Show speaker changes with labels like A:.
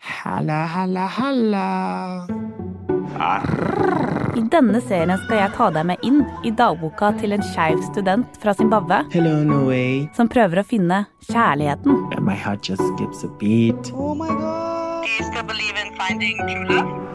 A: Halla, halla, halla.
B: I denne serien skal jeg ta deg med inn i dagboka til en skeiv student fra Zimbabwe
A: Hello, Norway.
B: som prøver å finne kjærligheten.
A: My heart just skips a beat.
C: Do you still believe in finding true love?